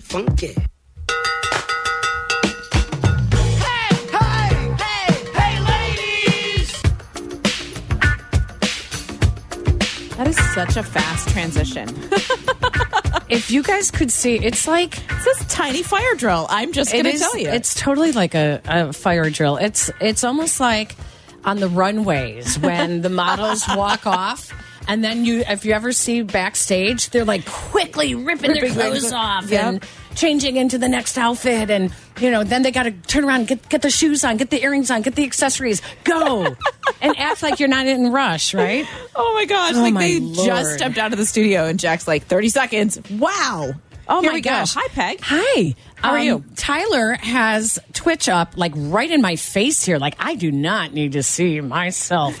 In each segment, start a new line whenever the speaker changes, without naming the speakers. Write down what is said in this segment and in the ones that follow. funky.
Hey, hey, hey, hey, ladies!
That is such a fast transition.
If you guys could see, it's like
It's this tiny fire drill. I'm just going
it
to
is.
tell you.
It's totally like a, a fire drill. It's it's almost like on the runways when the models walk off. And then you, if you ever see backstage, they're like quickly
Ripping
ripping, their
their-
clothes off
Yep.
and changing into the next outfit, and you know, then they got to turn around, get get the shoes on, get the earrings on, get the accessories, go, and act like you're not in rush, right?
oh my gosh.
Oh
like
my
they
Lord.
just stepped out of the studio and Jack's like 30 seconds. Wow.
Oh
Here
my
we go.
gosh.
Hi, Peg.
Hi. Um,
How are you?
Tyler has Twitch up like right in my face here. Like I do not need to see myself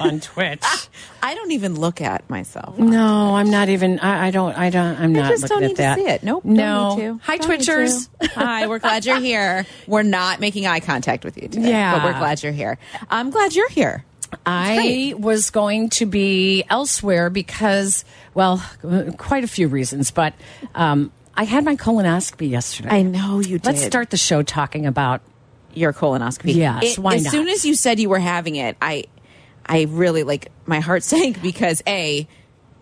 on Twitch.
I don't even look at myself.
no, I'm not even I, I don't I don't I'm not
just don't
looking
need
at that.
to see it. Nope.
No.
Don't need to.
Hi
Don't need
Twitchers.
to. Hi, we're glad you're here. We're not making eye contact with you today.
Yeah.
But we're glad you're here. I'm glad you're here.
I was going to be elsewhere because well, quite a few reasons, but um I had my colonoscopy yesterday.
know you
Let's start the show talking about
your colonoscopy.
Yes,
It-
why
as
not?
soon as you said you were having it, I I really like my heart sank because A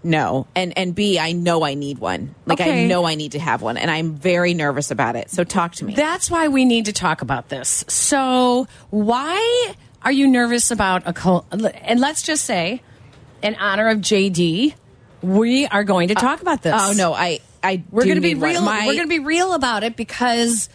no. And and B, I know I need one. Like
Okay.
I know I need to have one and I'm very nervous about it. So talk to me.
That's why we need to talk about this. So, why are you nervous about a col? And let's just say, in honor of JD, we are going to talk about this.
oh no, I I
we're
going to
be real. we're going to be real about it because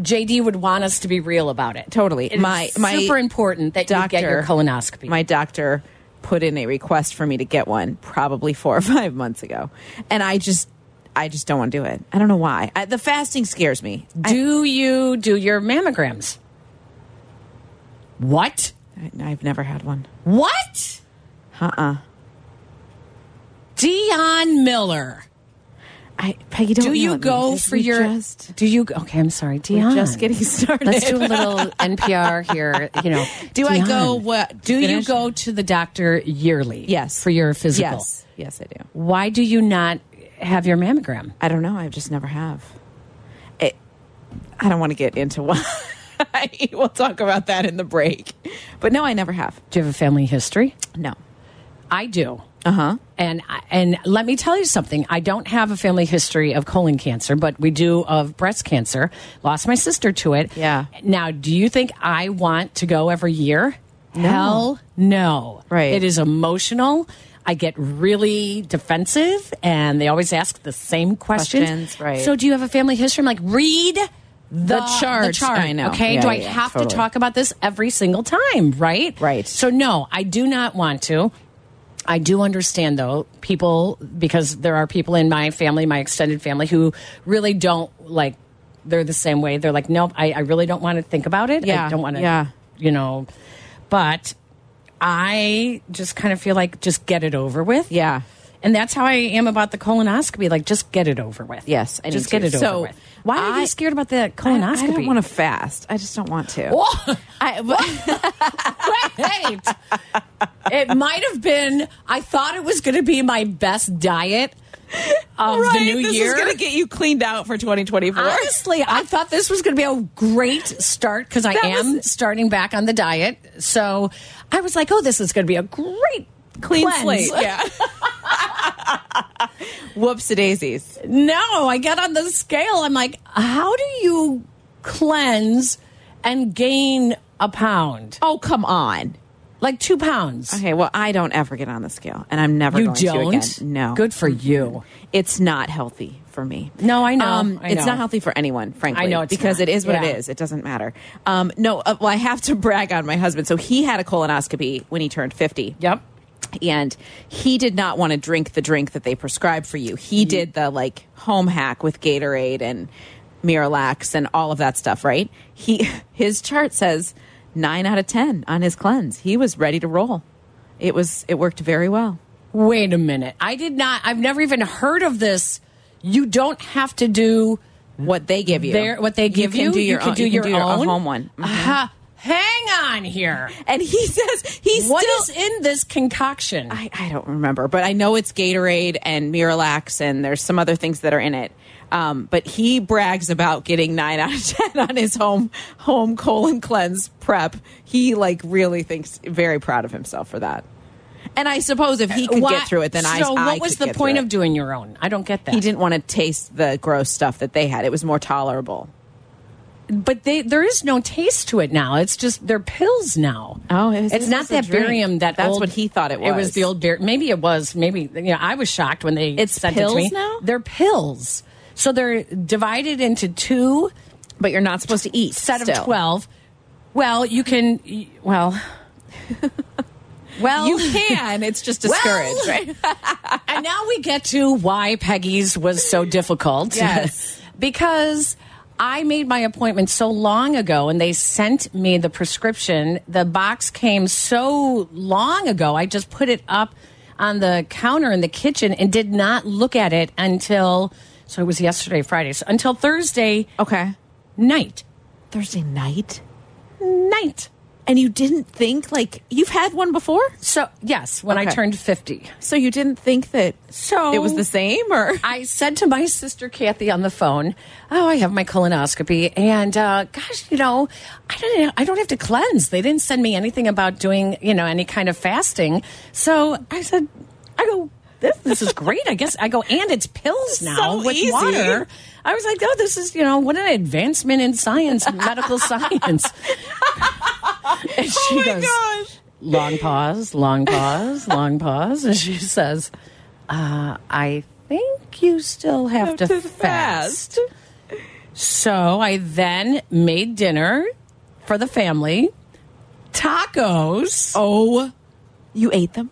JD would want us to be real about it.
Totally.
It is
My- my
super important that you get your colonoscopy.
My doctor put in a request for me to get one probably four or five months ago, and I just I just don't want to do it. I don't know why. I, the fasting scares me. I,
do you do your mammograms? What?
I, have never had one.
What?
Uh uh
Dion Miller.
I Peggy, don't
Do
yell
you
at me.
go
This-
for
we
your?
Just,
do you? Okay, I'm sorry,
we're
Dion.
just getting started.
Let's do a little NPR here. You know,
Do I go?
Dion,
What
Do you
finish?
go to the doctor yearly?
Yes.
for your physical.
Yes, yes, I do.
Why do you not have your mammogram?
I don't know. I just never have. It, I don't want to get into why. we'll talk about that in the break. But no, I never have.
Do you have a family history?
No.
I do.
Uh huh.
And I- and let me tell you something. I don't have a family history of colon cancer, but we do of breast cancer. Lost my sister to it.
Yeah.
Now, do you think I want to go every year? Hell no.
Right.
It is emotional. I get really defensive, and they always ask the same questions.
Questions, right.
So, do you have a family history? I'm like, read the,
chart.
The chart.
I know.
Okay.
Yeah,
do
yeah,
I
yeah,
have to
totally.
talk about this every single time? Right.
Right.
So, no, I do not want to. I do understand though people because there are people in my family, my extended family, who really don't like. They're the same way. They're like, nope, I, I really don't want to think about it. I
Yeah,
don't want to,
yeah.
you know. But I just kind of feel like just get it over with.
Yeah.
And that's how I am about the colonoscopy. Like, just get it over with.
Yes, I need
just
to.
get it
So,
over with. Why are
I-
you scared about the
I,
colonoscopy?
I don't want to fast. I just don't want to.
Oh,
I, but,
right. it might have been. I thought it was going to be my best diet
Um,
of the new year.
going to get you cleaned out for 2024.
Honestly, I thought this was going to be a great start because I
That
am
was-
starting back on the diet. So I was like, oh, this is going to be a great
Clean
cleanse.
slate. Yeah. Whoops a daisies.
No, I get on the scale. I'm like, how do you cleanse and gain a pound?
Oh, come on.
Like two pounds.
Okay, well, I don't ever get on the scale, and I'm never
You
going
don't?
to again. No.
Good for you.
It's not healthy for me. Um,
No, I know. I
It's
know.
not healthy for anyone, frankly.
I know it's
because
not.
it is what
Yeah.
it is. It doesn't matter. Um, no, uh, well, I have to brag on my husband. So he had a colonoscopy when he turned 50.
Yep.
and he did not want to drink the drink that they prescribed for you.
Mm-hmm.
He did the like home hack with Gatorade and Miralax and all of that stuff, right? He his chart says 9 out of 10 on his cleanse. He was ready to roll. It was it worked very well.
Wait a minute. I did not, I've never even heard of this. You don't have to do
What they give you.
their, what they give you.
can do your
can
own,
do
you
your
can do your
own Uh-huh.
home one. Mhm.
Aha. hang on here.
And he says he's
What
still
is in this concoction?
I, I don't remember, but I know it's Gatorade and Miralax, and there's some other things that are in it. Um, but he brags about getting nine out of ten on his home home colon cleanse prep. He like really thinks very proud of himself for that. And I suppose if he could
Why-
get through it, then I.
So
I
what
could
was the
get
point
through
of
it.
doing your own? I don't get that.
He didn't want to taste the gross stuff that they had. It was more tolerable.
but they, there is no taste to it now. It's just they're pills now.
Oh, it was-
it's
it
not
was a
that
drink.
barium. That
That's
old-
what he thought it
It was
was.
the old barium. Maybe it was. Maybe you know. I was shocked when they
It's
sent it
pills
to me.
now?
They're pills. So they're divided into two
But you're not supposed to eat
set
still.
of twelve. Well, you can. Well, well,
You can. It's just discouraged,
Well,
right?
and now we get to why Peggy's was so difficult.
Yes.
because I made my appointment so long ago and they sent me the prescription. The box came so long ago. I just put it up on the counter in the kitchen and did not look at it until so it was yesterday, Friday. So until Thursday
Okay.
night.
Thursday night.
Night.
and you didn't think like you've had one before
So yes, when I
Okay.
turned 50.
so you didn't think that
So
it was the same or
I said to my sister Kathy on the phone, "Oh, I have my colonoscopy, and uh, gosh, you know, I don't, I don't have to cleanse. They didn't send me anything about doing, you know, any kind of fasting. So I said, I go, this, this is great. I guess I go, and it's pills now
So
with
easy.
water. I was like, oh, this is, you know, what an advancement in science, medical science. and she
oh my
goes,
gosh
long pause, long pause, long pause, and she says, uh, "I think you still have, to, fast. So I then made dinner for the family, tacos.
oh you ate them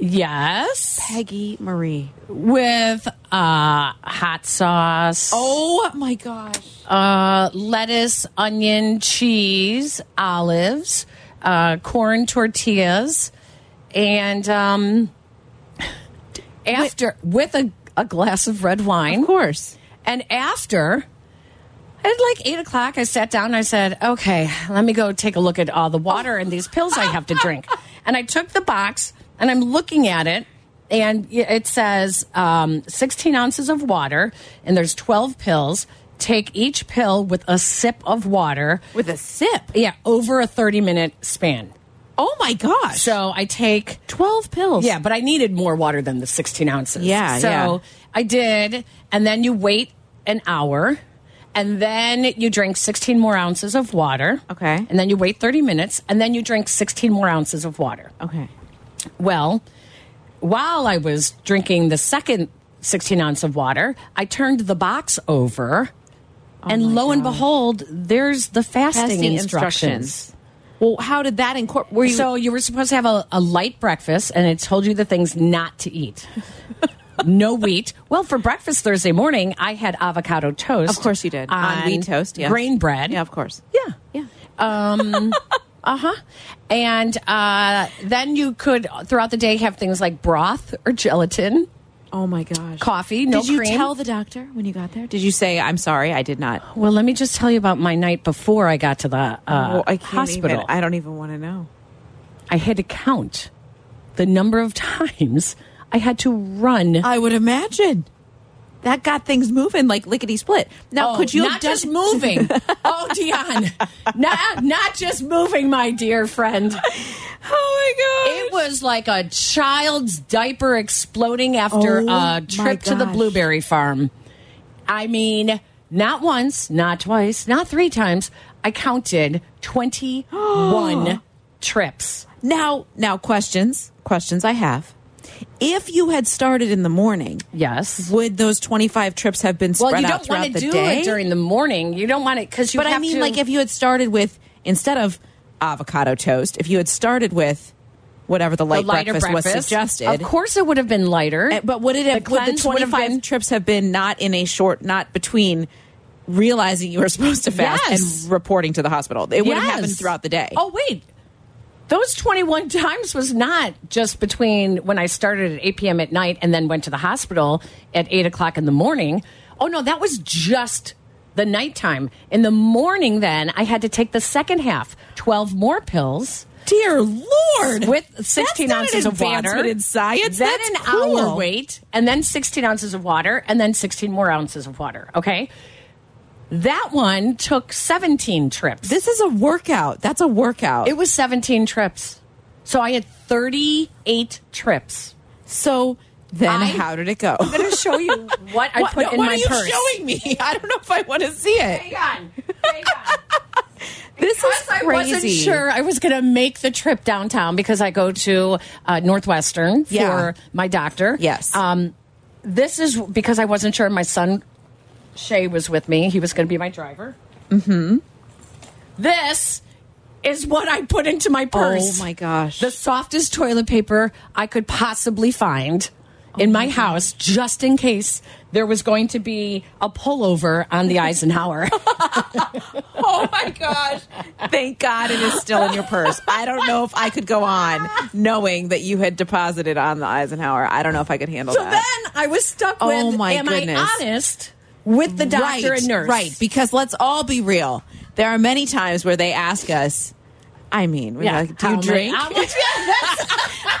Yes,
peggy marie
with uh, hot sauce,
oh my gosh
uh, lettuce, onion, cheese, olives, uh, corn tortillas, and um, after with a, a glass of red wine.
of course
And after, at like eight o'clock, I sat down and I said, okay, let me go take a look at all the water and these pills I have to drink. and I took the box and I'm looking at it. And it says um, 16 ounces of water, and there's 12 pills. Take each pill with a sip of water.
with a sip
Yeah, over a 30 minute span.
oh my gosh
So I take
12 pills
yeah, but I needed more water than the 16 ounces.
Yeah,
So
yeah.
I did. And then you wait an hour and then you drink 16 more ounces of water.
Okay.
And then you wait 30 minutes and then you drink 16 more ounces of water.
okay
Well, while I was drinking the second 16 ounce of water, I turned the box over. and
Oh my
lo and
gosh.
behold, there's the fasting,
Fasting
instructions.
well how did that incorporate were you
So you were supposed to have a, a light breakfast, and it told you the things not to eat. no wheat. Well, for breakfast Thursday morning, I had avocado toast.
of course you did on, wheat toast yes.
grain bread.
yeah of course
Yeah. Um, uh-huh.
yeah
And uh, then you could throughout the day have things like broth or gelatin.
oh my gosh
Coffee, no
did you
cream.
tell the doctor when you got there did you say i'm sorry i did not
Well, let me just tell you about my night before I got to the uh,
Oh, I can't
hospital.
Even, I don't even want to know.
I had to count the number of times I had to run.
I would imagine that got things moving like lickety split. Now,
Oh,
could you
not
have done-
just moving? oh, Dion, not not just moving, my dear friend.
Oh my god!
It was like a child's diaper exploding after
Oh,
a
my
trip to the
gosh.
blueberry farm. I mean, not once, not twice, not three times. I counted twenty-one trips.
now, now questions. Questions I have. If you had started in the morning,
Yes.
would those twenty-five trips have been spread
Well, you
out
don't
throughout
want to
the
do
day?
it during the morning. You don't want it because you.
but I
have
mean,
to-
like if you had started with instead of avocado toast, if you had started with whatever the
the
light
lighter
breakfast,
breakfast, Eh,
was suggested,
Of course, it would have been lighter.
Uh, But would it have,
The
would the
cleanse would have
25
been-
trips have been not in a short, not between realizing you were supposed to fast
Yes.
and reporting to the hospital? It would have happened
Yes.
throughout the day.
Oh wait. Those 21 times was not just between when I started at 8 p.m. at night and then went to the hospital at 8 o'clock in the morning. Oh, no, that was just the nighttime. In the morning, then I had to take the second half, twelve more pills.
Dear Lord,
with 16
That's not
ounces
an
of water.
advancement in science.
Then
That's
an
cruel.
hour wait, and then 16 ounces of water, and then 16 more ounces of water. Okay. That one took 17 trips.
This is a workout. That's a workout.
it was 17 trips. So I had 38 trips.
so then,
I-
how did it go?
I'm going to show you what I put
no,
in
what
my
are you
purse.
showing me? I don't know if I want to see it.
Hang on. Hang on.
This is
I
crazy.
wasn't sure I was going to make the trip downtown because I go to uh, Northwestern for
Yeah.
my doctor.
Yes.
Um, this is because I wasn't sure. My son Shay was with me. He was going to be my driver. Mm-hmm. This is what I put into my purse.
Oh my gosh.
The softest toilet paper I could possibly find.
Oh
In my house, just in case there was going to be a pullover on the Eisenhower.
oh my gosh. Thank God it is still in your purse. I don't know if I could go on knowing that you had deposited on the Eisenhower. I don't know if I could handle
So
that.
then I was stuck with,
Oh, my
am
goodness.
I honest with the doctor
right,
and nurse?
Right, because let's all be real. There are many times where they ask us, I mean, we're
Yeah.
like, do
How
you
much-
drink?
how much-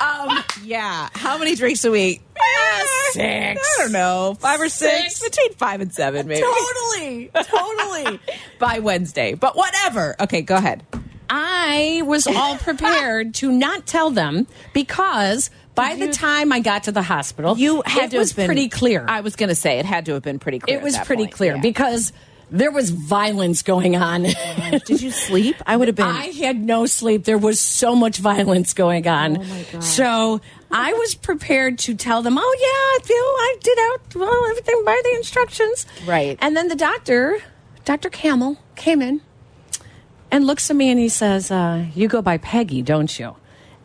um, yeah. How many drinks a week? Uh,
Six.
I don't know. Five or six.
Six.
Between five and seven, maybe.
totally. Totally.
By Wednesday. But whatever. Okay, go ahead.
I was all prepared to not tell them because by the time I got to the hospital, it was pretty clear.
I was going to say it had to have been pretty clear.
it
at
was
that
pretty
point,
clear
yeah.
because there was violence going on.
Did you sleep? I would have been.
I had no sleep. There was so much violence going on.
Oh, my gosh.
So I was prepared to tell them, "Oh yeah, I feel I did out well everything by the instructions."
Right.
And then the doctor, Dr. Camel, came in and looks at me and he says, uh, "You go by Peggy, don't you?"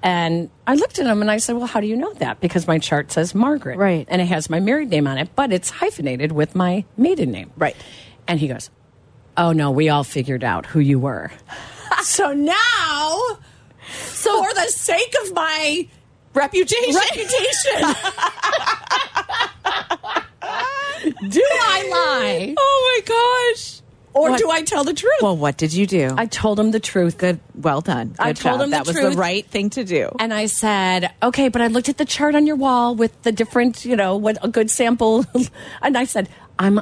And I looked at him and I said, "Well, how do you know that?" Because my chart says Margaret,
Right.
And it has my married name on it, but it's hyphenated with my maiden name,
Right.
And he goes, "Oh no, we all figured out who you were." so now, so for the sake of my
reputation.
reputation, do I lie
Oh my gosh.
or
What?
do I tell the truth?
Well, what did you do?
I told him the truth.
Good. Well done. Good
I told
job.
him the
that was
truth.
the right thing to do.
And I said, okay, but I looked at the chart on your wall with the different, you know, what a good sample. and I said, I'm,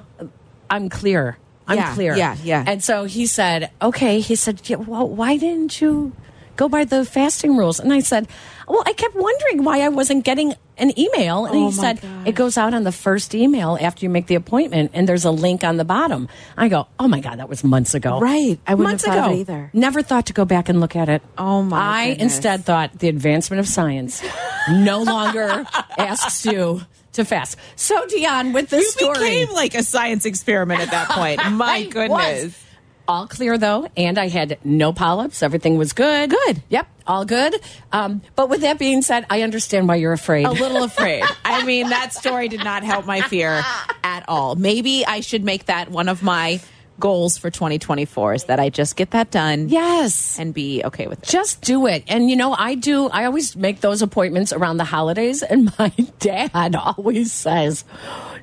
I'm clear. I'm
Yeah,
clear.
yeah, yeah.
And so he said, okay. He said, yeah, well, why didn't you go by the fasting rules? And I said, well, I kept wondering why I wasn't getting an email. And
Oh,
he
my
said,
gosh.
it goes out on the first email after you make the appointment, and there's a link on the bottom. I go, oh my god, that was months ago.
Right. I wouldn't
months
have
ago
thought of it either.
Never thought to go back and look at it.
Oh, my
I
goodness.
instead thought the advancement of science no longer asks you to fast. So Dion, with this
you
story,
became like a science experiment at that point. My
I was.
goodness.
All clear though, and I had no polyps. Everything was good. Good. Yep, all good. Um, but with that being said, I understand why you're afraid.
A little afraid. I mean, that story did not help my fear at all. Maybe I should make that one of my goals for 2024 is that I just get that done
yes.
and be okay with it.
just do it. And you know, I do. I always make those appointments around the holidays, and my dad always says,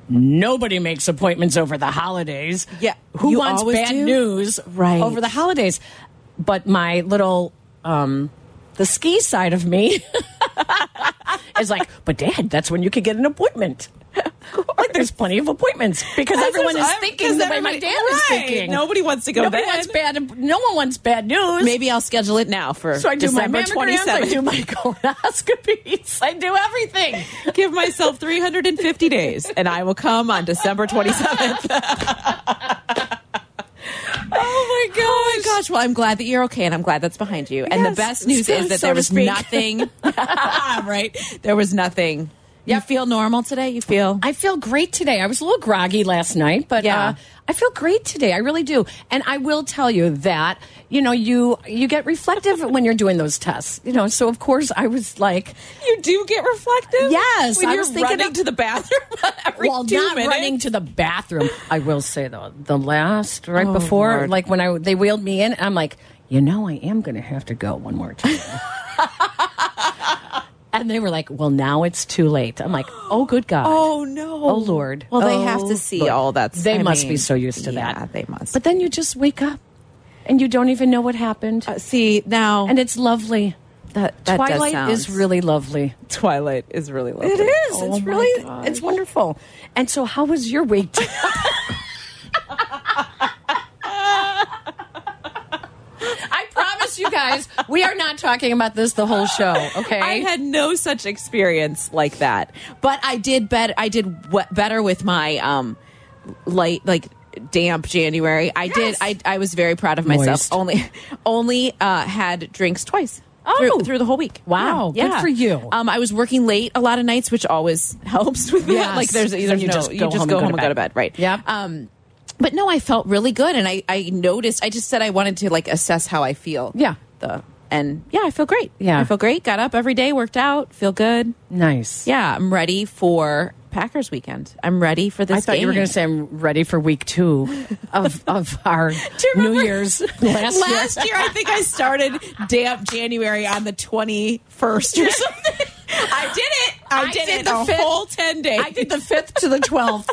"Nobody makes appointments over the holidays."
Yeah,
who
you
wants
always
bad
do?
news
Right.
over the holidays? But my little, um, the ski side of me is like, "But dad, that's when you could get an appointment." Like there's plenty of appointments because everyone is
I'm- because
thinking the way my
everybody-
dad is
Right.
thinking.
Nobody wants to go
Nobody
then.
wants bad. No one wants bad news.
Maybe I'll schedule it now for
So I do
December
my mammograms, I
27th.
do my colonoscopies, I do everything.
Give myself 350 days and I will come on December 27th.
Oh my gosh. Oh
my gosh. Well, I'm glad that you're okay, and I'm glad that's behind you. And
Yes.
the best news
So-
is that
so
there
to
was
speak.
nothing. right? There was nothing. You feel normal today? You feel?
I feel great today. I was a little groggy last night, but
Yeah.
uh, I feel great today. I really do. And I will tell you that, you know, you you get reflective when you're doing those tests. You know, so of course I was like
You do get reflective.
Yes,
When
I
you're
was thinking
running
of-
to the bathroom every
while
two
not
minutes.
running to the bathroom. I will say though, the last right before,
Oh, Lord.
like when I they wheeled me in, I'm like, you know, I am going to have to go one more time. And they were like, well, now it's too late. I'm like, oh, good God.
Oh no!
Oh, Lord.
Well, they have
Oh,
to see
Lord.
all that.
They
I
must be
mean,
so used to
yeah,
that.
They must.
But then you just wake up and you don't even know what happened.
Uh, see now,
and it's lovely.
that, that does
Twilight
sound-
is really lovely.
Twilight is really lovely.
It is.
Oh,
it's
my
really
God.
it's wonderful. And so how was your week? I promise you guys, we are not talking about this the whole show, okay?
I had no such experience like that, but I did bet I did w- better with my um light like damp January. I did.
Yes.
I I was very proud of myself.
Moist.
Only only uh, had drinks twice.
Oh.
Through, through the whole week.
Wow,
Yeah.
good
Yeah.
for you.
Um, I was working late a lot of nights, which always helps with
Yes.
that. Like there's,
Then
there's
you
no-
just
you
go
just
home and
go
go to
home and go
bed.
to bed, right?
Yep.
Um, but no, I felt really good, and I I noticed. I just said I wanted to like assess how I feel.
Yeah.
The and yeah, I feel great.
Yeah.
I feel great. Got up every day, worked out, feel good.
nice.
Yeah, I'm ready for Packers weekend. I'm ready for this.
I thought you were
game.
going to say I'm ready for week two of of our
Do you
New
remember-
Year's last,
Last year, I think I started damp January on the 21st or something. I did it. I,
I
did,
did
it
the
the
fifth.
whole 10 days.
I did the fifth to the twelfth.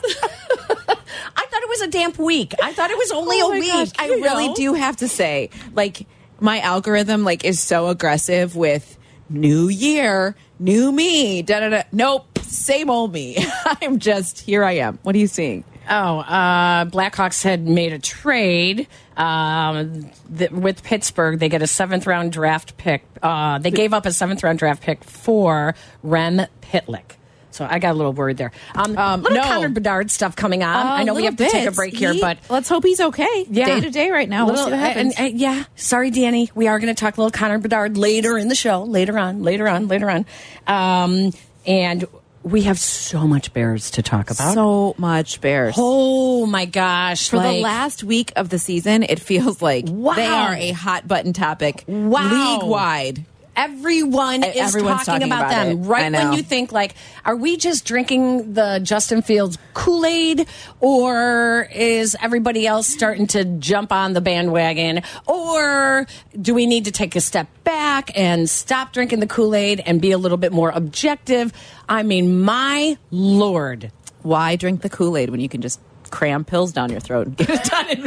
I thought it was a damp week. I thought it was only
Oh
a
my
week.
gosh, I
you
really
know?
do have to say, like, my algorithm like is so aggressive with new year, new me. Da da da. Nope, same old me. I'm just here. I am. What are you seeing?
Oh, uh, Blackhawks had made a trade um, th with Pittsburgh. They get a seventh round draft pick. Uh, they gave up a seventh round draft pick for Rem Pitlick. So I got a little worried there. Um, Uh,
Um,
little
no.
Connor Bedard stuff coming on. I
A
know we
Uh, little
have to take a
bit.
break here,
He-
but
let's hope he's okay. Day to day right now. We'll
Little-
see what happens.
and- and- yeah. Sorry, Danny. We are going to talk little Connor Bedard later in the show, later on, later on, later on. Um, and we have so much bears to talk about.
so much Bears.
oh my gosh.
For the
like-
last week of the season, it feels like
Wow.
they are a hot button topic
Wow.
league wide.
Everyone is
E, Everyone's
talking,
talking about
about, them.
it. I
Right when
know.
you think, like, are we just drinking the Justin Fields Kool Aid, or is everybody else starting to jump on the bandwagon, or do we need to take a step back and stop drinking the Kool Aid and be a little bit more objective? I mean, my lord,
Why drink the Kool Aid when you can just cram pills down your throat and get it done in,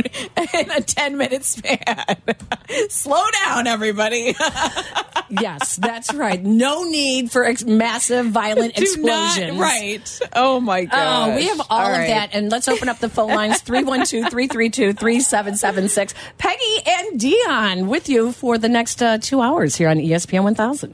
in a 10 minute span? Slow down, everybody.
yes, that's right. No need for ex massive violent
Do not-
explosions,
right. Oh, my God.
Oh, we have all, of that. And let's open up the phone lines 312 332 3776. Peggy and Dion with you for the next uh, two hours here on ESPN 1000.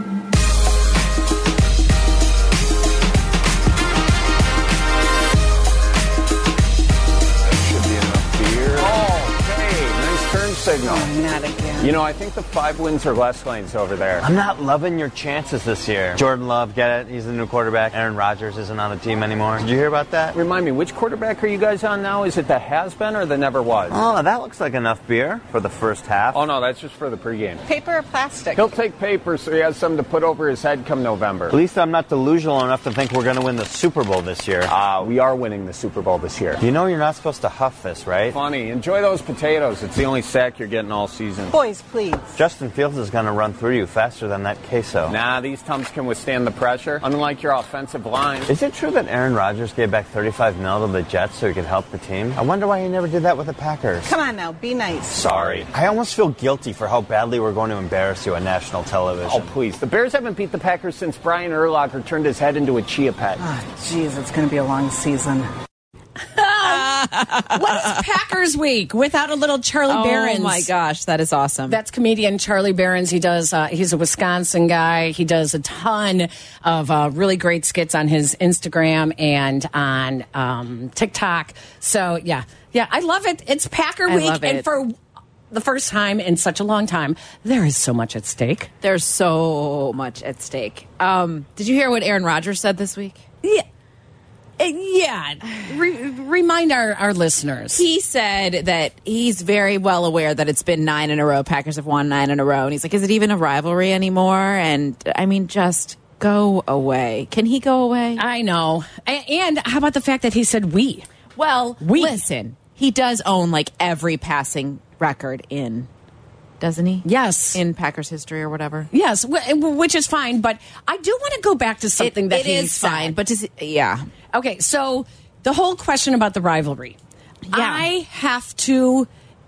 Should be enough beer. Oh, hey, nice turn signal.
Not again.
You know, I think the five wins are less lanes over there.
I'm not loving your chances this year. Jordan Love, get it? He's the new quarterback. Aaron Rodgers isn't on the team anymore. Did you hear about that?
Remind me, which quarterback are you guys on now? Is it the has been or the never was?
Oh, that looks like enough beer for the first half.
Oh, no, that's just for the pregame.
Paper or plastic?
He'll take paper so he has something to put over his head come
At
November.
least I'm not delusional enough to think we're going to win the Super Bowl this year.
Ah, we are winning the Super Bowl this year.
You know you're not supposed to huff this, right?
Funny, enjoy those potatoes. It's the only sack you're getting all season.
Boys, please.
Justin Fields is going to run through you faster than that queso.
Nah, these tums can withstand the pressure, unlike your offensive line.
Is it true that Aaron Rodgers gave back 35 mil to the Jets so he could help the team? I wonder why he never did that with the Packers.
Come on now, be nice.
Sorry.
I almost feel guilty for how badly we're going to embarrass you on national television.
Oh, please. The Bears haven't beat the Packers since Brian Urlacher turned his head into a chia pet.
Ah, Jeez, it's going to be a long season.
Uh,
What is Packers Week without a little Charlie
Oh,
Barons?
my gosh. That is awesome.
That's comedian Charlie Barons. He does. Uh, he's a Wisconsin guy. He does a ton of uh, really great skits on his Instagram and on um, TikTok. So yeah, yeah, I love it. It's Packer
I
Week,
love
and
it.
for the first time in such a long time, there is so much at stake.
There's so much at stake. Um, did you hear what Aaron Rodgers said this week?
Yeah. Yeah, Re- remind our, our listeners.
he said that he's very well aware that it's been nine in a row. Packers have won nine in a row, and he's like, "Is it even a rivalry anymore?" And I mean, just Go away. Can he go away?
I know. A- And how about the fact that he said we?
well,
We-
listen. He does own like every passing record in, doesn't he?
Yes.
In Packers history or whatever.
Yes, wh- which is fine, but I do want to go back to something
It-
that
it
he
is
said.
fine, but does it, yeah.
Okay, so the whole question about the rivalry. I have to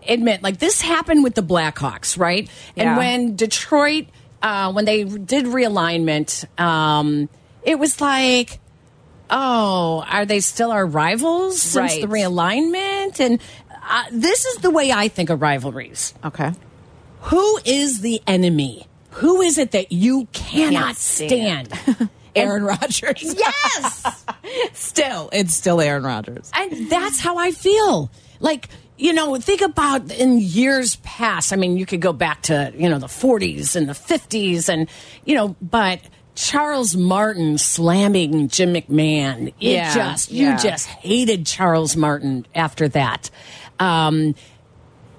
admit, like this happened with the Blackhawks, right? And
Yeah.
when Detroit, uh, when they did realignment, um, it was like, oh, are they still our rivals since
Right.
the realignment? And uh, this is the way I think of rivalries.
Okay.
Who is the enemy? Who is it that you cannot
stand.
stand?
Aaron Rodgers.
yes.
Still, it's still Aaron Rodgers.
And that's how I feel. Like, you know, think about in years past. I mean, you could go back to, you know, the 40s and the 50s and, you know, but Charles Martin slamming Jim McMahon. It
Yeah,
just,
yeah.
you just hated Charles Martin after that. Um,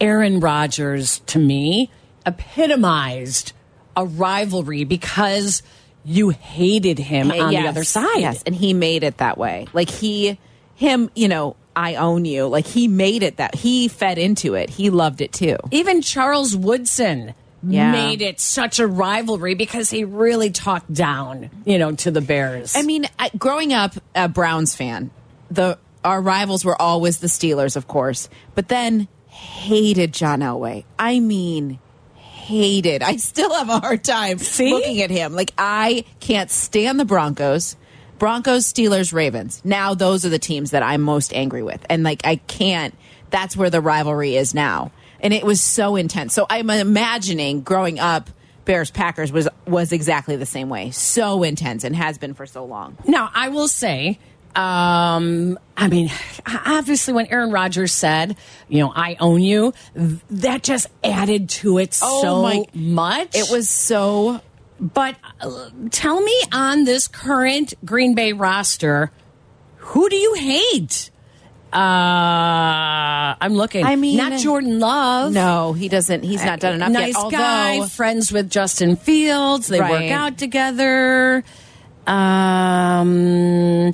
Aaron Rodgers, to me, epitomized a rivalry because you hated him on the
Uh, Yes,
other side.
Yes, and he made it that way. Like he, him, you know, I own you. Like he made it that he fed into it. He loved it too.
even Charles Woodson
Yeah.
made it such a rivalry because he really talked down, you know, to the Bears.
I mean, I, growing up a Browns fan, the our rivals were always the Steelers, of course, but then hated John Elway. I mean, hated. I still have a hard time looking at him. Like I can't stand the Broncos. Broncos, Steelers, Ravens. Now those are the teams that I'm most angry with. And like I can't that's where the rivalry is now. And it was so intense. So I'm imagining growing up Bears Packers was was exactly the same way. So intense and has been for so long.
now I will say, um, I mean, obviously when Aaron Rodgers said, you know, I own you, th- that just added to it
Oh
so
my-
much.
It was so
but uh, tell me on this current Green Bay roster, who do you hate? Uh, I'm looking.
I mean-
not Jordan Love.
no, he doesn't. He's not done enough
nice
yet. Although
guy, friends with Justin Fields. They work
Right.
out together. Um,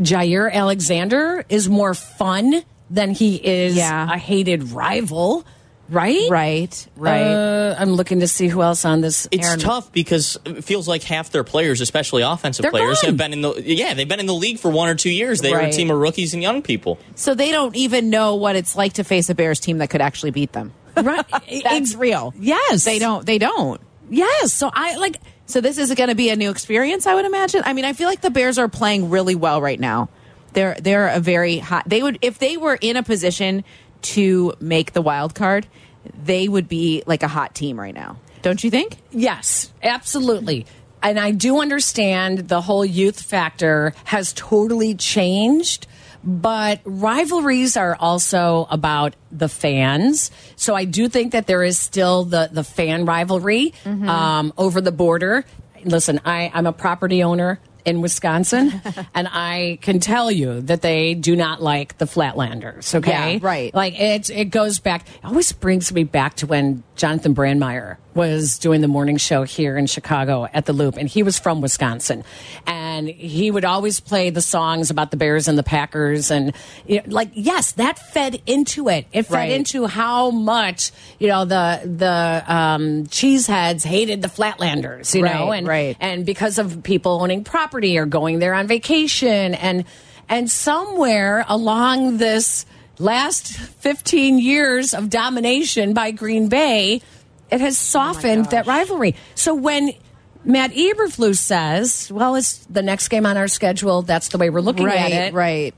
Jair Alexander is more fun than he is
Yeah.
a hated rival, right?
right, right.
Uh, I'm looking to see who else on this.
It's
Aaron-
tough because it feels like half their players, especially offensive
They're
players,
gone.
have been in the yeah they've been in the league for one or two years. They were a
Right.
team of rookies and young people.
so they don't even know what it's like to face a Bears team that could actually beat them.
right? e-,
That's real.
Yes,
They don't they don't.
Yes, so I like.
So this is going to be a new experience, I would imagine. I mean, I feel like the Bears are playing really well right now. They're they're a very hot. They would if they were in a position to make the wild card, they would be like a hot team right now. Don't you think?
Yes, absolutely. And I do understand the whole youth factor has totally changed, but rivalries are also about the fans. So I do think that there is still the, the fan rivalry
Mm-hmm.
um, over the border. Listen, I, I'm a property owner in Wisconsin, and I can tell you that they do not like the Flatlanders, okay?
Yeah, right.
Like, it it goes back. It always brings me back to when Jonathan Brandmeier was doing the morning show here in Chicago at the Loop, and he was from Wisconsin, and he would always play the songs about the Bears and the Packers, and you know, like yes, that fed into it. It fed
Right.
into how much you know the the um, cheeseheads hated the Flatlanders, you know,
Right,
and
right.
and because of people owning property or going there on vacation and and somewhere along this last 15 years of domination by Green Bay it has
Oh
softened that rivalry so when Matt Eberflus says well it's the next game on our schedule that's the way we're looking at it
right.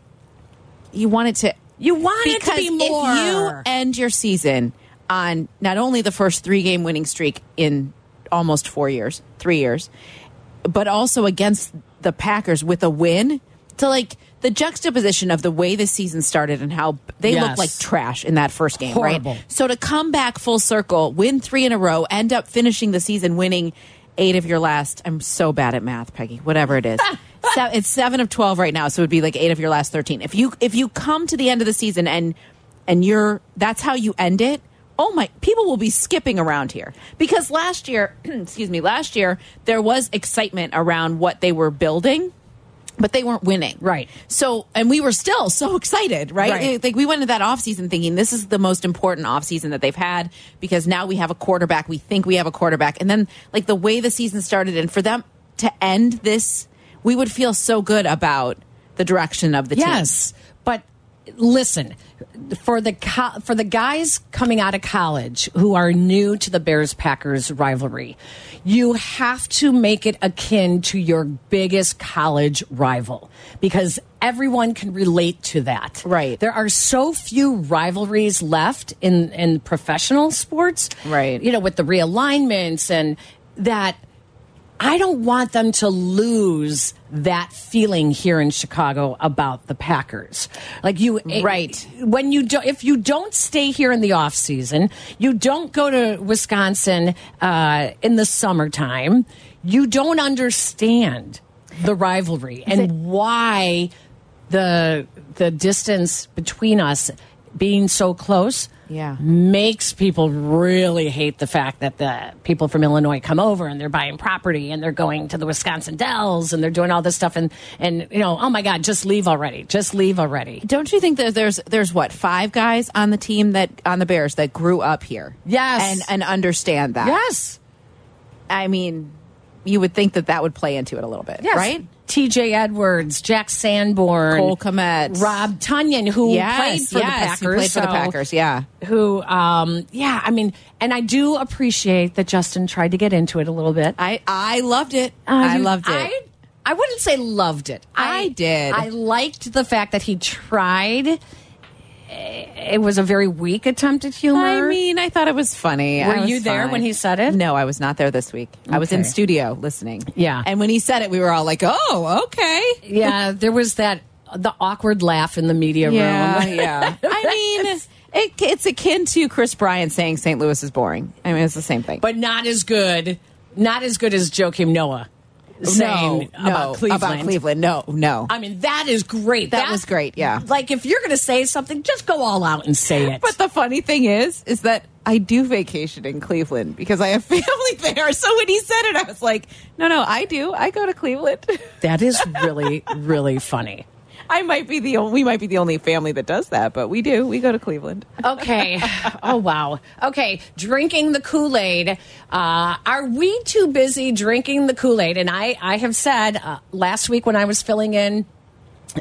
You want it to
you want it
because
to be more
if you end your season on not only the first three game winning streak in almost four years, three years, but also against the Packers with a win, to like the juxtaposition of the way the season started and how they looked
Yes.
like trash in that first game,
Horrible.
right? So to come back full circle, win three in a row, end up finishing the season winning eight of your last. I'm so bad at math, Peggy. Whatever it is, Se- it's seven of twelve right now, so it would be like eight of your last thirteen. If you if you come to the end of the season and and you're that's how you end it, oh my, people will be skipping around here because last year, excuse me, last year there was excitement around what they were building. But they weren't winning.
Right.
So, and we were still so excited, right?
Right.
It- like we went into that offseason thinking this is the most important offseason that they've had because now we have a quarterback. We think we have a quarterback. And then like the way the season started and for them to end this, we would feel so good about the direction of the team.
Yes, but listen, for the co- for the guys coming out of college who are new to the Bears Packers rivalry, you have to make it akin to your biggest college rival because everyone can relate to that.
Right.
There are so few rivalries left in in professional sports.
Right.
You know, with the realignments and that I don't want them to lose that feeling here in Chicago about the Packers. Like you
Right.
when you do, if you don't stay here in the off season, you don't go to Wisconsin uh, in the summertime, you don't understand the rivalry and why the the distance between us being so close
Yeah.
makes people really hate the fact that the people from Illinois come over and they're buying property and they're going to the Wisconsin Dells and they're doing all this stuff and and you know oh my god just leave already just leave already
Don't you think that there's there's what five guys on the team that on the Bears that grew up here?
Yes.
and and understand that.
yes
I mean, you would think that that would play into it a little bit, right?
T.J. Edwards Jack Sanborn
Cole Komet,
Rob Tunyon who
yes,
played for
yes,
the Packers
he played for the
so-
Packers. Yeah,
who um yeah I mean and I do appreciate that Justin tried to get into it a little bit
I I loved it.
Uh,
I
you-
loved it.
I, I wouldn't say loved it.
I did.
I liked the fact that he tried. Eh, It was a very weak attempt at humor.
I mean, I thought it was funny. I
Were
was
you there
fine.
when he said it?
No, I was not there this week. I was in
Okay.
studio listening.
Yeah.
and when he said it, we were all like, "Oh, okay."
yeah, there was that the awkward laugh in the media room.
yeah. I mean, it, it's akin to Chris Bryant saying St. Louis is boring. I mean, it's the same thing.
but not as good. Not as good as Joakim Noah saying about Cleveland.
about Cleveland. No, no.
I mean, that is great.
That was great, yeah.
Like if you're going to say something, just go all out and say it.
but the funny thing is, is that I do vacation in Cleveland because I have family there. So when he said it, I was like, no, no, I do. I go to Cleveland.
that is really, really funny.
I might be the only, we might be the only family that does that, but we do. We go to Cleveland.
Okay. Oh, wow. Okay. Drinking the Kool Aid. Uh, are we too busy drinking the Kool Aid? And I, I have said uh, last week when I was filling in,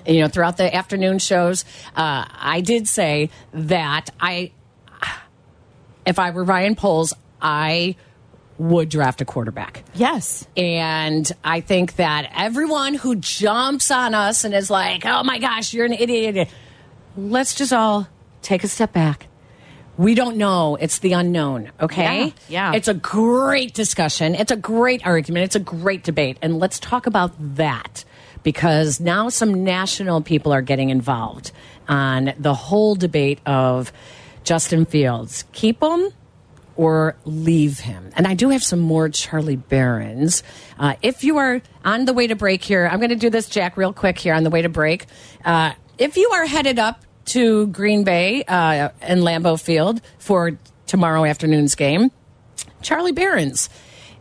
you know, throughout the afternoon shows, uh, I did say that I, if I were Ryan Poles, I would draft a quarterback.
Yes.
And I think that everyone who jumps on us and is like, oh my gosh, you're an idiot, let's just all take a step back. We don't know. It's the unknown, okay?
Yeah, yeah.
It's a great discussion. It's a great argument. It's a great debate. And let's talk about that because now some national people are getting involved on the whole debate of Justin Fields. Keep him or leave him. And I do have some more Charlie Barons. Uh, if you are on the way to break here, I'm going to do this, Jack, real quick here on the way to break. Uh, if you are headed up to Green Bay uh, and Lambeau Field for tomorrow afternoon's game, Charlie Barons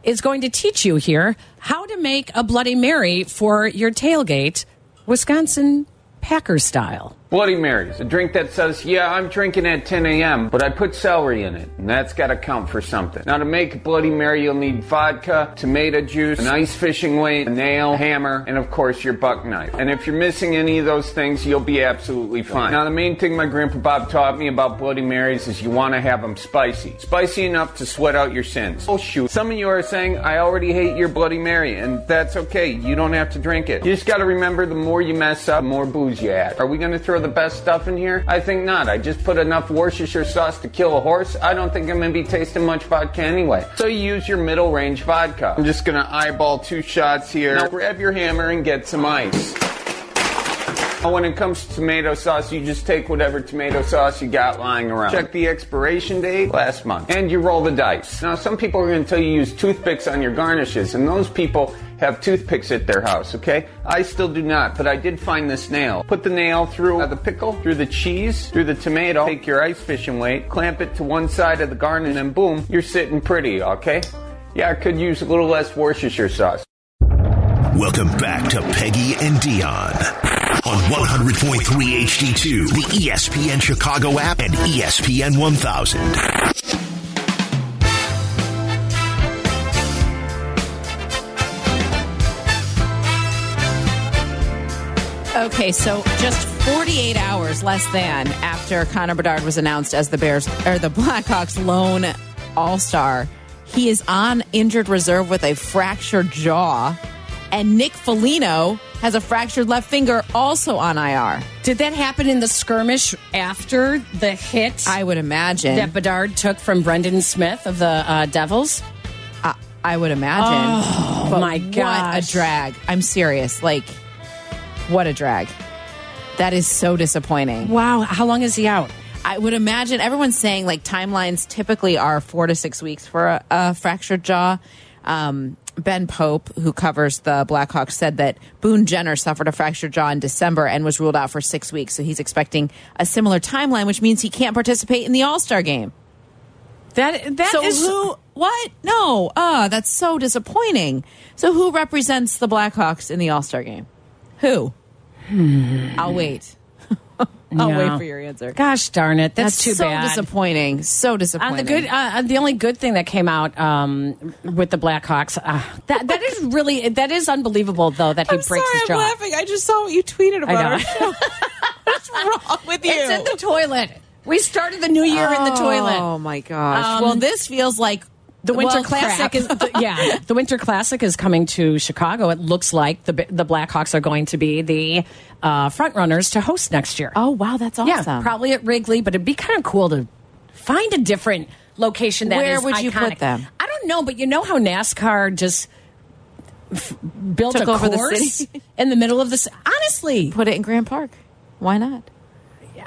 is going to teach you here how to make a Bloody Mary for your tailgate, Wisconsin Packer style.
Bloody Mary's, a drink that says, yeah, I'm drinking at 10 a.m., but I put celery in it, and that's gotta count for something. Now, to make a Bloody Mary, you'll need vodka, tomato juice, an ice fishing weight, a nail, hammer, and of course your buck knife. And if you're missing any of those things, you'll be absolutely fine. Now, the main thing my grandpa Bob taught me about Bloody Marys is you wanna have them spicy. Spicy enough to sweat out your sins. Oh, shoot. Some of you are saying, I already hate your Bloody Mary, and that's okay. You don't have to drink it. You just gotta remember the more you mess up, the more booze you add. Are we gonna throw the best stuff in here? I think not. I just put enough Worcestershire sauce to kill a horse. I don't think I'm gonna be tasting much vodka anyway. So you use your middle range vodka. I'm just gonna eyeball two shots here. Now grab your hammer and get some ice. Now, When it comes to tomato sauce, you just take whatever tomato sauce you got lying around. Check the expiration date last month. And you roll the dice. Now, some people are going to tell you use toothpicks on your garnishes, and those people have toothpicks at their house, okay? I still do not, but I did find this nail. Put the nail through uh, the pickle, through the cheese, through the tomato, take your ice fishing weight, clamp it to one side of the garden, and then boom, you're sitting pretty, okay? Yeah, I could use a little less Worcestershire sauce.
Welcome back to Peggy and Dion on 100.3 HD2, the E ESPN Chicago app and E ESPN 1000.
Okay, so just 48 hours less than after Connor Bedard was announced as the Bears or the Blackhawks lone all-star, he is on injured reserve with a fractured jaw, and Nick Foligno has a fractured left finger, also on IR.
Did that happen in the skirmish after the hit
I would imagine.
that Bedard took from Brendan Smith of the uh, Devils?
I, I would imagine. Oh
my
What
gosh.
a drag! I'm serious. Like, what a drag. That is so disappointing.
Wow, how long is he out?
I would imagine everyone's saying like timelines typically are four to six weeks for a, a fractured jaw. Um, ben Pope, who covers the Blackhawks, said that Boone Jenner suffered a fractured jaw in December and was ruled out for six weeks. So he's expecting a similar timeline, which means he can't participate in the All Star game.
That that is
so who? What? No. Uh, that's so disappointing. So who represents the Blackhawks in the All Star game? Who? I'll wait. I'll
Yeah.
wait for your answer.
Gosh darn it! That's, too
so
bad.
disappointing. So disappointing.
On the good, uh, uh, the only good thing that came out um, with the Blackhawks, uh, that that is really that is unbelievable though that he
I'm
breaks
sorry,
his jaw.
I'm laughing. I just saw what you tweeted
I
about
know.
our show. What's wrong with you?
It's in the toilet. We started the new year in the
Oh
toilet.
my gosh.
Um,
well, this feels like
The Winter
well,
Classic
crap.
is the, yeah. The Winter Classic is coming to Chicago. It looks like the the Blackhawks are going to be the uh, front runners to host next year.
oh wow, that's awesome.
yeah, probably at Wrigley, but it'd be kind of cool to find a different location. That
Where
is
would you put
iconic.
them?
I don't know, but you know how NASCAR just f- built
Took
a
over the
course
city?
in the middle of this. Honestly,
Put it in Grand Park. Why not?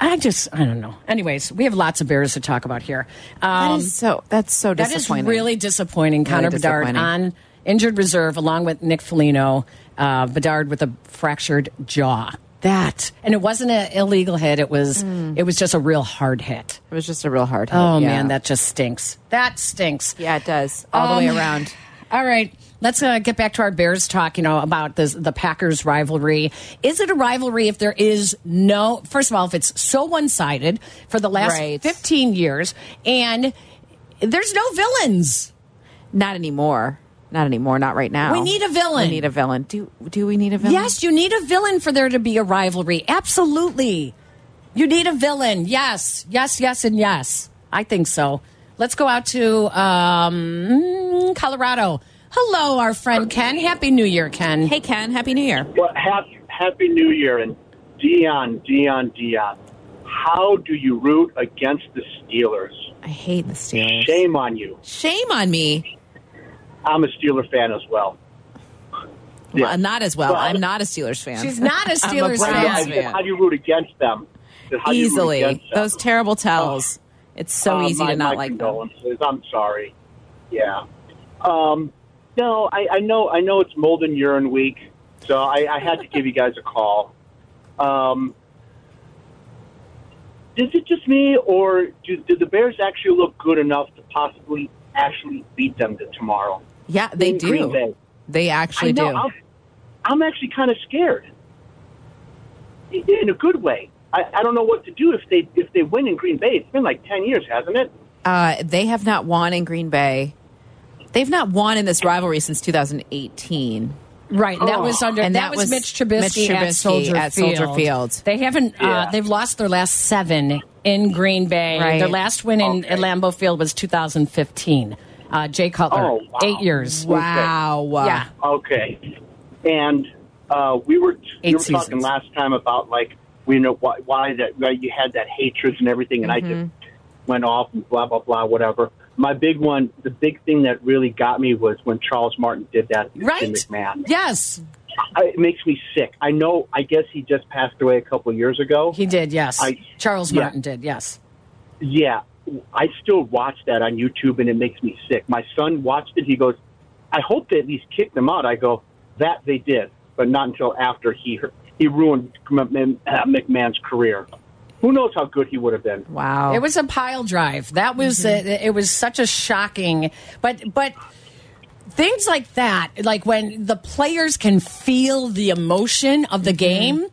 I just I don't know. Anyways, we have lots of bears to talk about here. Um,
that is so. That's so
that is
disappointing.
really disappointing. Connor Bedard
disappointing.
on injured reserve along with Nick Foligno. Uh, Bedard with a fractured jaw. That and it wasn't an illegal hit. It was
Hmm.
it was just a real hard hit.
It was just a real hard. hit,
Oh
yeah.
man, that just stinks. That stinks.
Yeah, it does all the
Um,
way around.
All right. Let's uh, get back to our Bears talk, you know, about this, the Packers rivalry. Is it a rivalry if there is no, first of all, if it's so one sided for the last
Right.
15 years and there's no villains?
Not anymore. Not anymore. Not right now.
We need a villain.
We need a villain. Do do we need a villain?
Yes, you need a villain for there to be a rivalry. Absolutely. You need a villain. Yes, yes, yes, and yes. I think so. Let's go out to um, Colorado. Hello, our friend Ken. Happy New Year, Ken.
Hey Ken, happy New Year.
Well, happy, happy New Year, and Dion, Dion, Dion. How do you root against the Steelers?
I hate the Steelers.
Shame on you.
Shame on me.
I'm a Steeler fan as well. Yeah.
Well, not as well.
Well,
I'm not a Steelers fan.
She's not a
I'm
Steelers
Browns
fan.
I
Yes,
said,
fan.
How do you root against them? I said, how do you root
easily.
against them?
Those terrible tells. it's so
Uh,
easy
my-
to not
my
like them.
condolences. I'm sorry. Yeah. Um, no, I, I know. I know it's mold and urine week, so I, I had to give you guys a call. Um, is it just me, or do, do the Bears actually look good enough to possibly actually beat them to tomorrow?
Yeah, they
in Green
do.
Bay?
They actually
I know.
do.
I'm, I'm actually kind of scared, I- in a good way. I, I don't know what to do if they if they win in Green Bay. It's been like ten years, hasn't it?
Uh, they have not won in Green Bay. They've not won in this rivalry since 2018.
Right, and that was under
Oh. And
that,
that
was
was
Mitch Trubisky,
Mitch
at
Trubisky
Soldier
at
Field.
Soldier Field.
They haven't. Uh,
Yeah.
they've lost their last seven in Green Bay.
Right.
Their last win in at Lambeau Field was 2015. Uh, Jay Cutler,
Oh, wow.
eight years.
Wow.
Yeah.
Okay. And uh, we were
Eight
you were talking
seasons.
last time about like we know why, why that why you had that hatred and everything, and I just
Mm-hmm.
went off and blah blah blah whatever. My big one, the big thing that really got me was when Charles Martin did that to Jim
Right.
McMahon.
Yes,
I, it makes me sick. I know. I guess he just passed away a couple years ago.
he did. Yes,
I-
Charles
yeah.
Martin did. Yes.
Yeah, I still watch that on YouTube, and it makes me sick. My son watched it. He goes, "I hope they at least kicked them out." I go,
That they did, but not until after he he ruined McMahon- uh, McMahon's career. Who knows how good he would have been?
Wow.
It was a pile drive. That was
Mm-hmm.
uh, it was such a shocking but but things like that like when the players can feel the emotion of the game,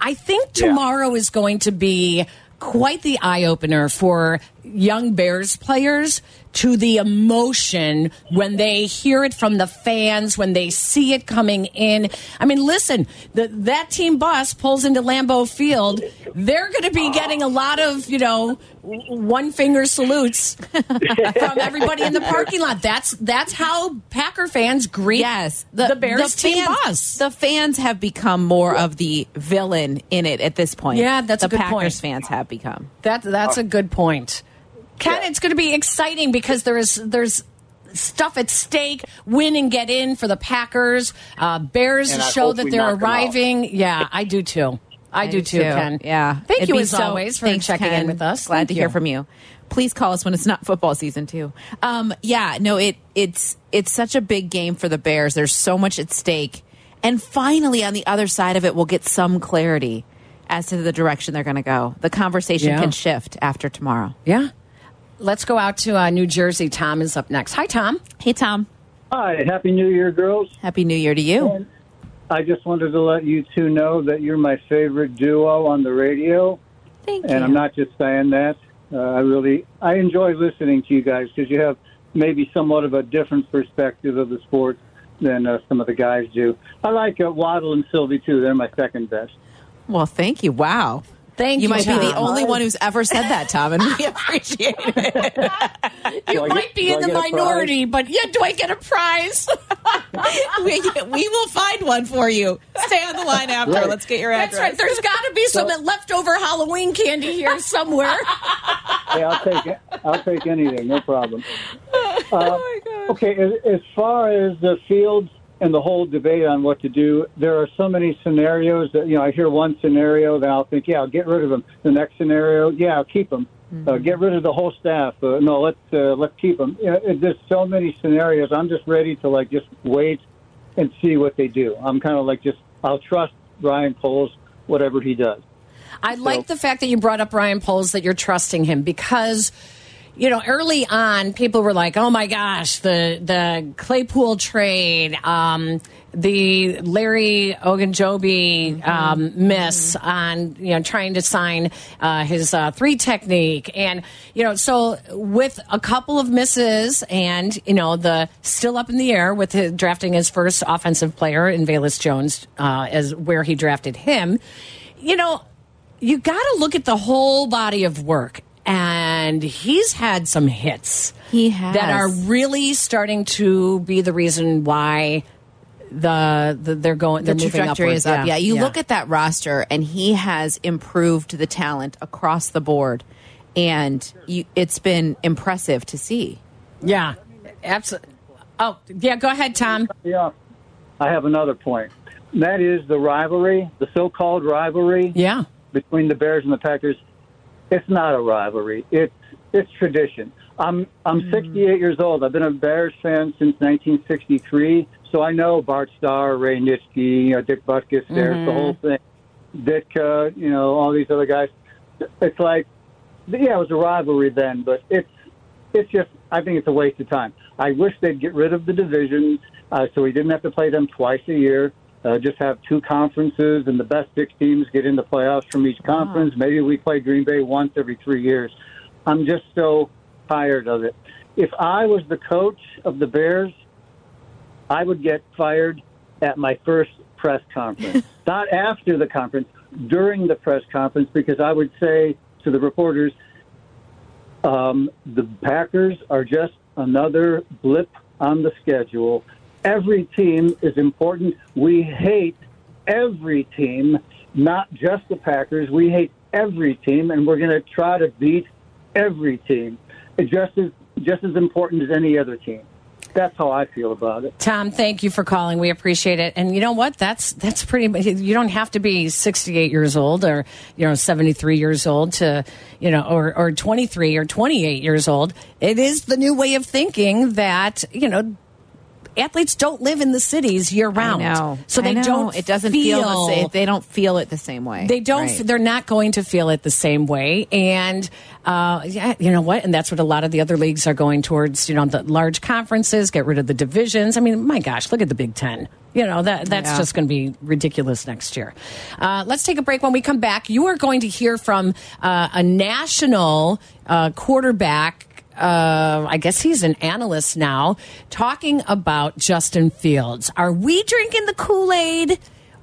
I think
Yeah.
tomorrow is going to be quite the eye opener for young Bears players to the emotion when they hear it from the fans, when they see it coming in. I mean, listen, the, that team bus pulls into Lambeau Field. They're going to be getting a lot of, you know, one finger salutes from everybody in the parking lot. That's that's how Packer fans greet
Yes,
the, Bears team
fans,
bus.
The fans have become more of the villain in it at this point.
Yeah, that's a
the
good
Packers
point.
fans have become.
That that's a good point. Ken, it's going to be exciting because there is there's stuff at stake. Win and get in for the Packers. Uh, Bears
And I
show
hope
that
we
they're
knock 'em out.
arriving. Yeah, I do too. I, do, too, Ken.
Yeah.
Thank
It'd
you
be
as
so-
always for
thanks,
checking
Ken.
in with us.
Glad
Thank
to
you.
hear from you. Please call us when it's not football season too. Um, yeah, no, it it's it's such a big game for the Bears. There's so much at stake, and finally on the other side of it, we'll get some clarity as to the direction they're going to go. The conversation
Yeah.
can shift after tomorrow.
Yeah. Let's go out to uh, New Jersey. Tom is up next. Hi, Tom.
Hey, Tom.
Hi, Happy New Year, girls.
Happy New Year to you.
I just wanted to let you two know that you're my favorite duo on the radio,
Thank you.
and I'm not just saying that. Uh, I really I enjoy listening to you guys because you have maybe somewhat of a different perspective of the sport than uh, some of the guys do. I like uh, Waddle and Sylvie too; they're my second best.
Well, thank you. Wow.
Thank
You
you.
might be the
Tom.
only one who's ever said that, Tom, and we appreciate it.
You
I get-
might be in
do I
the
get a prize?
minority, but yeah, do I get a prize?
we, we will find one for you. Stay on the line after. Let's get your
That's
address.
right. There's got to be some leftover Halloween candy here somewhere.
hey, I'll take it. I'll take anything, no problem. Uh, okay, as, as far as the field and the whole debate on what to do, there are so many scenarios that you know. I hear one scenario, then I'll think, yeah, I'll get rid of them. The next scenario, yeah, I'll keep them. Uh, get rid of the whole staff. Uh, no, let's uh, let's keep them. You know, it, there's so many scenarios. I'm just ready to like just wait and see what they do. I'm kind of like just I'll trust Ryan Poles, whatever he does.
I like the fact that you brought up Ryan Poles that you're trusting him because you know early on people were like, "Oh my gosh, the the Claypool trade, um, the Larry Ogunjobi um, miss on you know trying to sign uh, his uh, three technique, and you know so with a couple of misses and you know the still up in the air with his, drafting his first offensive player in Valus Jones uh, as where he drafted him, you know." you got to look at the whole body of work. And he's had some hits.
He has.
That are really starting to be the reason why the, the they're going
the
they're moving
trajectory
upward.
is up. Yeah, you look at that roster, and he has improved the talent across the board, and you, it's been impressive to see.
Yeah. Absolutely. Oh, yeah, go ahead, Tom.
Yeah, I have another point. And that is the rivalry, the so-called rivalry
Yeah.
between the Bears and the Packers. It's not a rivalry. It's it's tradition. I'm I'm 68 years old. I've been a Bears fan since 1963, so I know Bart Starr, Ray Nitschke, you know, Dick Butkus, there's the whole thing. Ditka, you know, all these other guys. It's like, yeah, it was a rivalry then, but it's it's just I think it's a waste of time. I wish they'd get rid of the divisions uh, so we didn't have to play them twice a year. Uh, just have two conferences, and the best six teams get into playoffs from each conference. Maybe we play Green Bay once every three years. I'm just so tired of it. If I was the coach of the Bears, I would get fired at my first press conference, not after the conference, during the press conference, because I would say to the reporters, um, the Packers are just another blip on the schedule. Every team is important. We hate every team, not just the Packers. We hate every team, and we're going to try to beat every team. It's just as just as important as any other team. That's how I feel about it.
Tom, thank you for calling. We appreciate it. And you know what? That's that's pretty. mu- You don't have to be 68 years old or you know 73 years old to you know or or 23 or 28 years old. It is the new way of thinking that you know athletes don't live in the cities year round.
No,
So they don't
It doesn't feel, the same. They don't feel it the same way.
They don't.
Right.
They're not going to feel it the same way, and uh, yeah, you know what? And that's what a lot of the other leagues are going towards. You know, the large conferences, get rid of the divisions. I mean, my gosh, look at the Big Ten. You know that that's
Yeah.
just going to be ridiculous next year. Uh, let's take a break. When we come back, you are going to hear from uh, a national uh, quarterback. Uh, I guess he's an analyst now, talking about Justin Fields. Are we drinking the Kool Aid?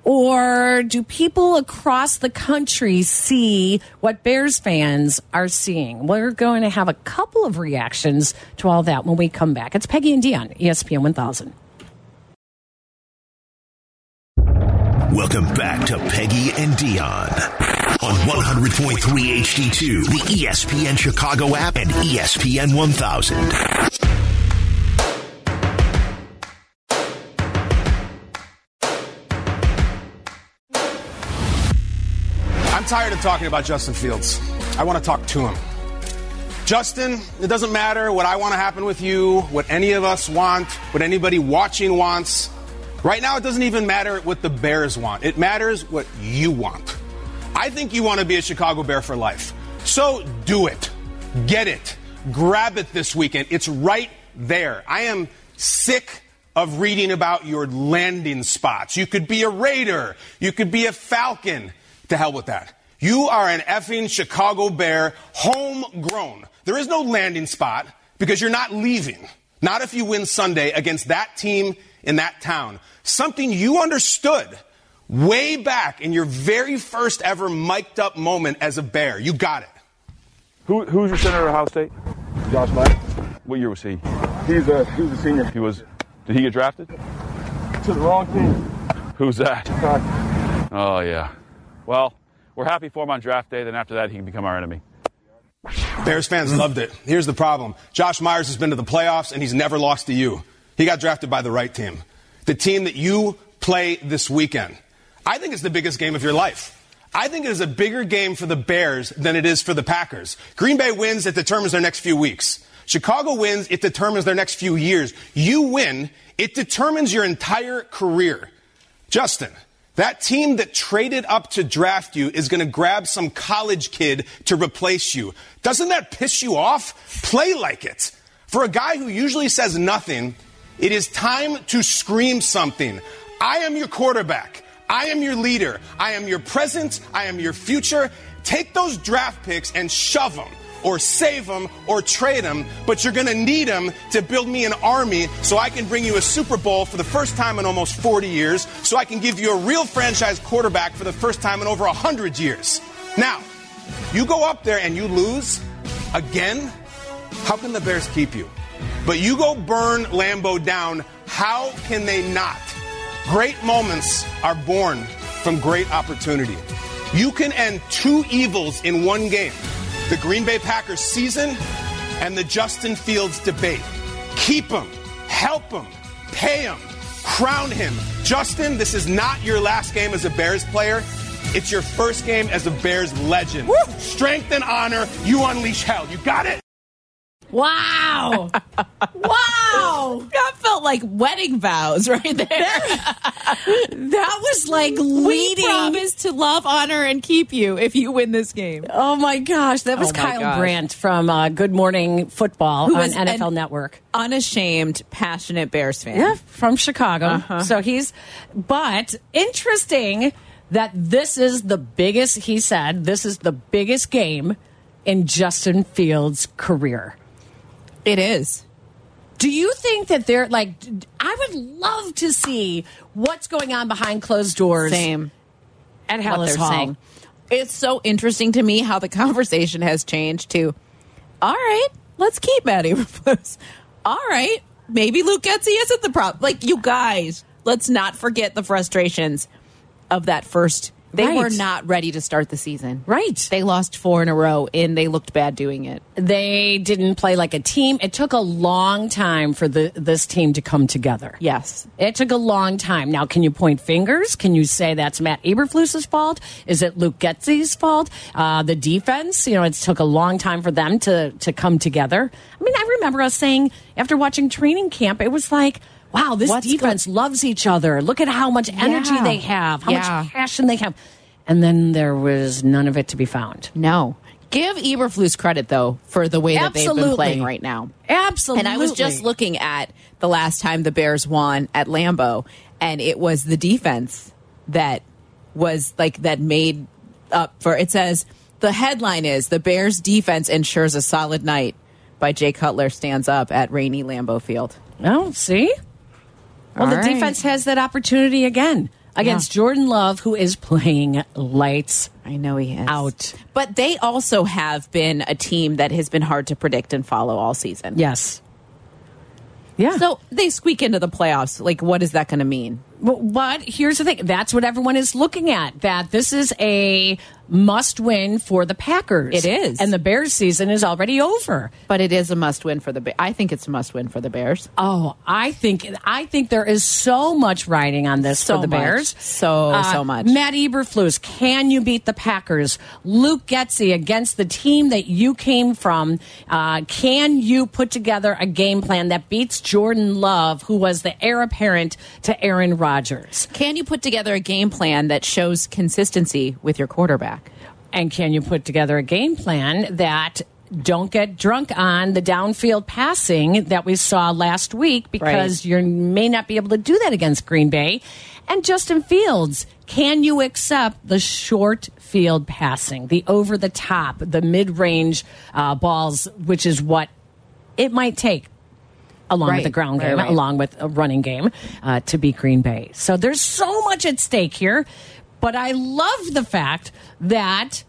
Or do people across the country see what Bears fans are seeing? We're going to have a couple of reactions to all that when we come back. It's Peggy and Dion, E ESPN 1000.
Welcome back to Peggy and Dion on 100.3 HD2, the E ESPN Chicago app and E ESPN 1000.
I'm tired of talking about Justin Fields. I want to talk to him. Justin, it doesn't matter what I want to happen with you, what any of us want, what anybody watching wants. Right now, it doesn't even matter what the Bears want. It matters what you want. I think you want to be a Chicago Bear for life. So do it. Get it. Grab it this weekend. It's right there. I am sick of reading about your landing spots. You could be a Raider. You could be a Falcon. To hell with that. You are an effing Chicago Bear, homegrown. There is no landing spot because you're not leaving. Not if you win Sunday against that team in that town. Something you understood way back in your very first ever mic'd up moment as a Bear. You got it.
Who, who's your senator of Ohio State? Josh Meyer. What year was he? He's a he was a senior. He was. Did he get drafted?
To the wrong team.
Who's that? Oh yeah. Well, we're happy for him on draft day. Then after that, he can become our enemy.
Bears fans loved it. Here's the problem Josh Myers has been to the playoffs and he's never lost to you. He got drafted by the right team, the team that you play this weekend. I think it's the biggest game of your life. I think it is a bigger game for the Bears than it is for the Packers. Green Bay wins, it determines their next few weeks. Chicago wins, it determines their next few years. You win, it determines your entire career. Justin, that team that traded up to draft you is going to grab some college kid to replace you. Doesn't that piss you off? Play like it. For a guy who usually says nothing, it is time to scream something. I am your quarterback. I am your leader. I am your present. I am your future. Take those draft picks and shove them or save them or trade them, but you're going to need them to build me an army so I can bring you a Super Bowl for the first time in almost 40 years, so I can give you a real franchise quarterback for the first time in over 100 years. Now, you go up there and you lose again, how can the Bears keep you? But you go burn Lambeau down, how can they not? Great moments are born from great opportunity. You can end two evils in one game the Green Bay Packers season and the Justin Fields debate. Keep him, help him, pay him, crown him. Justin, this is not your last game as a Bears player. It's your first game as a Bears legend. Strength and honor, you unleash hell. You got it?
Wow. wow.
That felt like wedding vows right there.
that was like leading.
We promise to love, honor, and keep you if you win this game.
Oh my gosh, that was
Oh my
Kyle
gosh.
Brandt from uh, Good Morning Football
Who
on
was
NFL
an-
Network.
Unashamed, passionate Bears fan.
Yeah, from Chicago.
Uh-huh.
So he's, but interesting that this is the biggest, he said, this is the biggest game in Justin Fields' career.
It is.
Do you think that they're like, I would love to see what's going on behind closed doors.
Same.
At
what
Hallis
they're
Hall.
saying. It's so interesting to me how the conversation has changed to, all right, let's keep Matt Eberflus. All right, maybe Luke Getzey isn't the problem. Like, you guys, let's not forget the frustrations of that first. They
Right.
were not ready to start the season.
Right.
They lost four in a row and they looked bad doing it.
They didn't play like a team. It took a long time for the, this team to come together.
Yes.
It took a long time. Now, can you point fingers? Can you say that's Matt Eberflus's fault? Is it Luke Getzey's fault? Uh, the defense, you know, it's took a long time for them to to come together. I mean, I remember us saying after watching training camp, it was like, wow, this defense loves each other. Look at how much energy
Yeah.
they have, how
Yeah.
much passion they have. And then there was none of it to be found.
No. Give Eberflus credit though for the way that they've been
Absolutely.
playing right now.
Absolutely.
And I was just looking at the last time the Bears won at Lambeau, and it was the defense that was like that made up for it says the headline is the Bears defense ensures a solid night by Jay Cutler stands up at rainy Lambeau Field.
Oh, see? Well,
All
the
right.
defense has that opportunity again against Jordan Love, who is playing lights.
I know he is
out.
But they also have been a team that has been hard to predict and follow all season.
Yes. Yeah.
So they squeak into the playoffs. Like, what is that going to mean?
But, but here's the thing that's what everyone is looking at that this is a must win for the Packers.
It is.
And the Bears season is already over.
But it is a must win for the. Ba- I think it's a must win for the Bears.
Oh, I think I think there is so much riding on this
So
for the
much.
Bears. Uh,
So, so much.
Matt Eberflus, can you beat the Packers? Luke Getzey against the team that you came from. Uh, can you put together a game plan that beats Jordan Love, who was the heir apparent to Aaron Rodgers?
Can you put together a game plan that shows consistency with your quarterback?
And can you put together a game plan that don't get drunk on the downfield passing that we saw last week because you may not be able to do that against Green Bay? And Justin Fields, can you accept the short field passing, the over the top, the mid range uh, balls, which is what it might take along
Right,
with the ground
right,
game,
right.
along with a running game uh, to beat Green Bay. So there's so much at stake here, but I love the fact that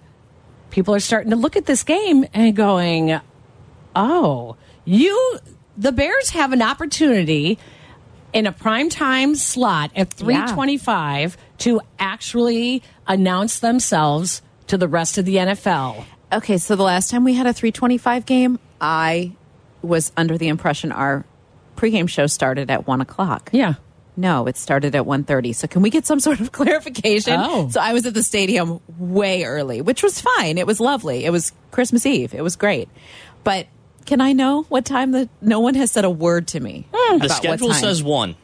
people are starting to look at this game and going, oh, you, the Bears have an opportunity in a prime time slot at 325 to actually announce themselves to the rest of the NFL.
Okay, so the last time we had a 325 game, I was under the impression our pregame show started at one o'clock.
Yeah.
No, it started at 1.30. So can we get some sort of clarification?
Oh.
So I was at the stadium way early, which was fine. It was lovely. It was Christmas Eve. It was great. But can I know what time the no one has said a word to me?
Hmm.
The
about what
schedule
time.
says one.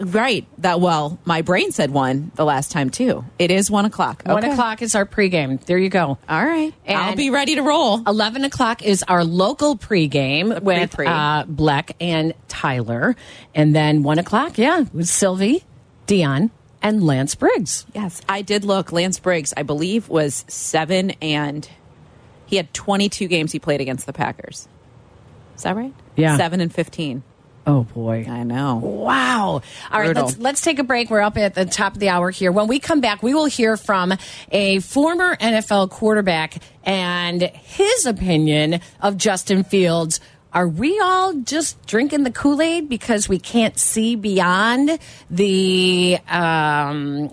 Right. That well, my brain said one the last time too. It is one o'clock.
One
Okay.
o'clock is our pregame. There you go.
All right.
And
I'll be ready to roll.
11 o'clock is our local pregame with
pre-pre.
uh, Bleck and Tyler. And then 1 o'clock, yeah, with Sylvie, Dion, and Lance Briggs.
Yes, I did look. Lance Briggs, I believe, was seven and he had 22 games he played against the Packers. Is that right?
Yeah.
Seven and 15.
Oh, boy.
I know.
Wow. All right,
Brutal.
let's, let's take a break. We're up at the top of the hour here. When we come back, we will hear from a former NFL quarterback and his opinion of Justin Fields. Are we all just drinking the Kool Aid because we can't see beyond the um,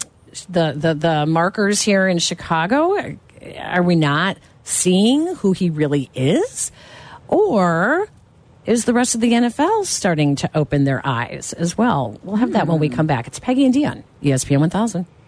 the, the the markers here in Chicago? Are we not seeing who he really is, or is the rest of the NFL E starting to open their eyes as well? We'll have that when we come back. It's Peggy and Dion, ESPN 1000.